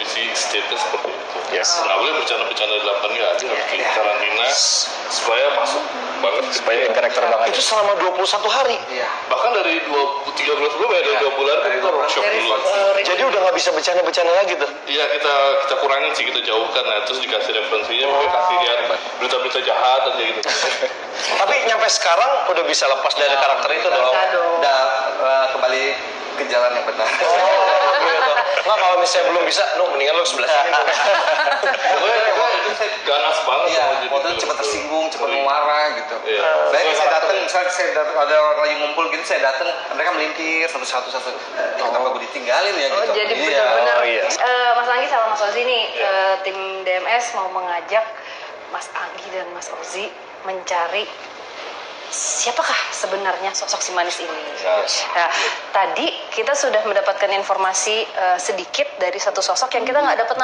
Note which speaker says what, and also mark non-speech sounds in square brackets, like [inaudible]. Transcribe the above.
Speaker 1: SDT seperti itu.
Speaker 2: Yes.
Speaker 1: Nggak boleh bercanda-bercanda di dalam kan nggak adil, harus
Speaker 2: Iya,
Speaker 1: di
Speaker 2: iya.
Speaker 1: karantina supaya masuk banget.
Speaker 2: supaya in karakter banget
Speaker 3: itu selama 21 hari
Speaker 4: Iya.
Speaker 1: Bahkan dari dua tiga bulan sebelumnya ada dua bulan kan kita workshop
Speaker 2: Dari,
Speaker 1: dulu.
Speaker 2: eh,
Speaker 3: jadi udah nggak bisa bercanda-bercanda lagi tuh
Speaker 1: Iya kita kita kurangin sih kita jauhkan nah terus dikasih referensinya pokoknya kasih lihat berita-berita jahat aja gitu.
Speaker 3: tapi nyampe sekarang udah bisa lepas dari karakter itu dong
Speaker 2: Udah dong.
Speaker 4: Udah eh, kembali ke jalan yang benar.
Speaker 3: Oh, gitu. Nggak kalau misalnya belum bisa, lu mendingan lu sebelah sini.
Speaker 2: iya.
Speaker 4: [laughs]
Speaker 1: Pokoknya gue itu saya ganas
Speaker 2: Oh,
Speaker 1: banget
Speaker 4: Iya,
Speaker 1: sama gitu. jadi
Speaker 2: gitu.
Speaker 4: waktu
Speaker 1: film.
Speaker 4: cepat tersinggung, cepat
Speaker 2: iya.
Speaker 1: Sering.
Speaker 4: marah gitu.
Speaker 1: Iya.
Speaker 4: Saya saya datang, saya, saya datang ada orang lagi ngumpul gitu, saya datang, mereka melintir satu-satu satu. Eh, Kenapa gue ditinggalin ya
Speaker 2: Oh,
Speaker 4: gitu.
Speaker 2: jadi
Speaker 4: Iya.
Speaker 2: benar-benar
Speaker 3: oh, iya.
Speaker 2: Eh, Mas Anggi sama Mas Ozi nih eh, tim DMS mau mengajak Mas Anggi dan Mas Ozi mencari siapakah sebenarnya sosok si manis ini.
Speaker 1: Yes.
Speaker 2: Nah, tadi kita sudah mendapatkan informasi eh, sedikit dari satu sosok yang kita nggak dapat nama.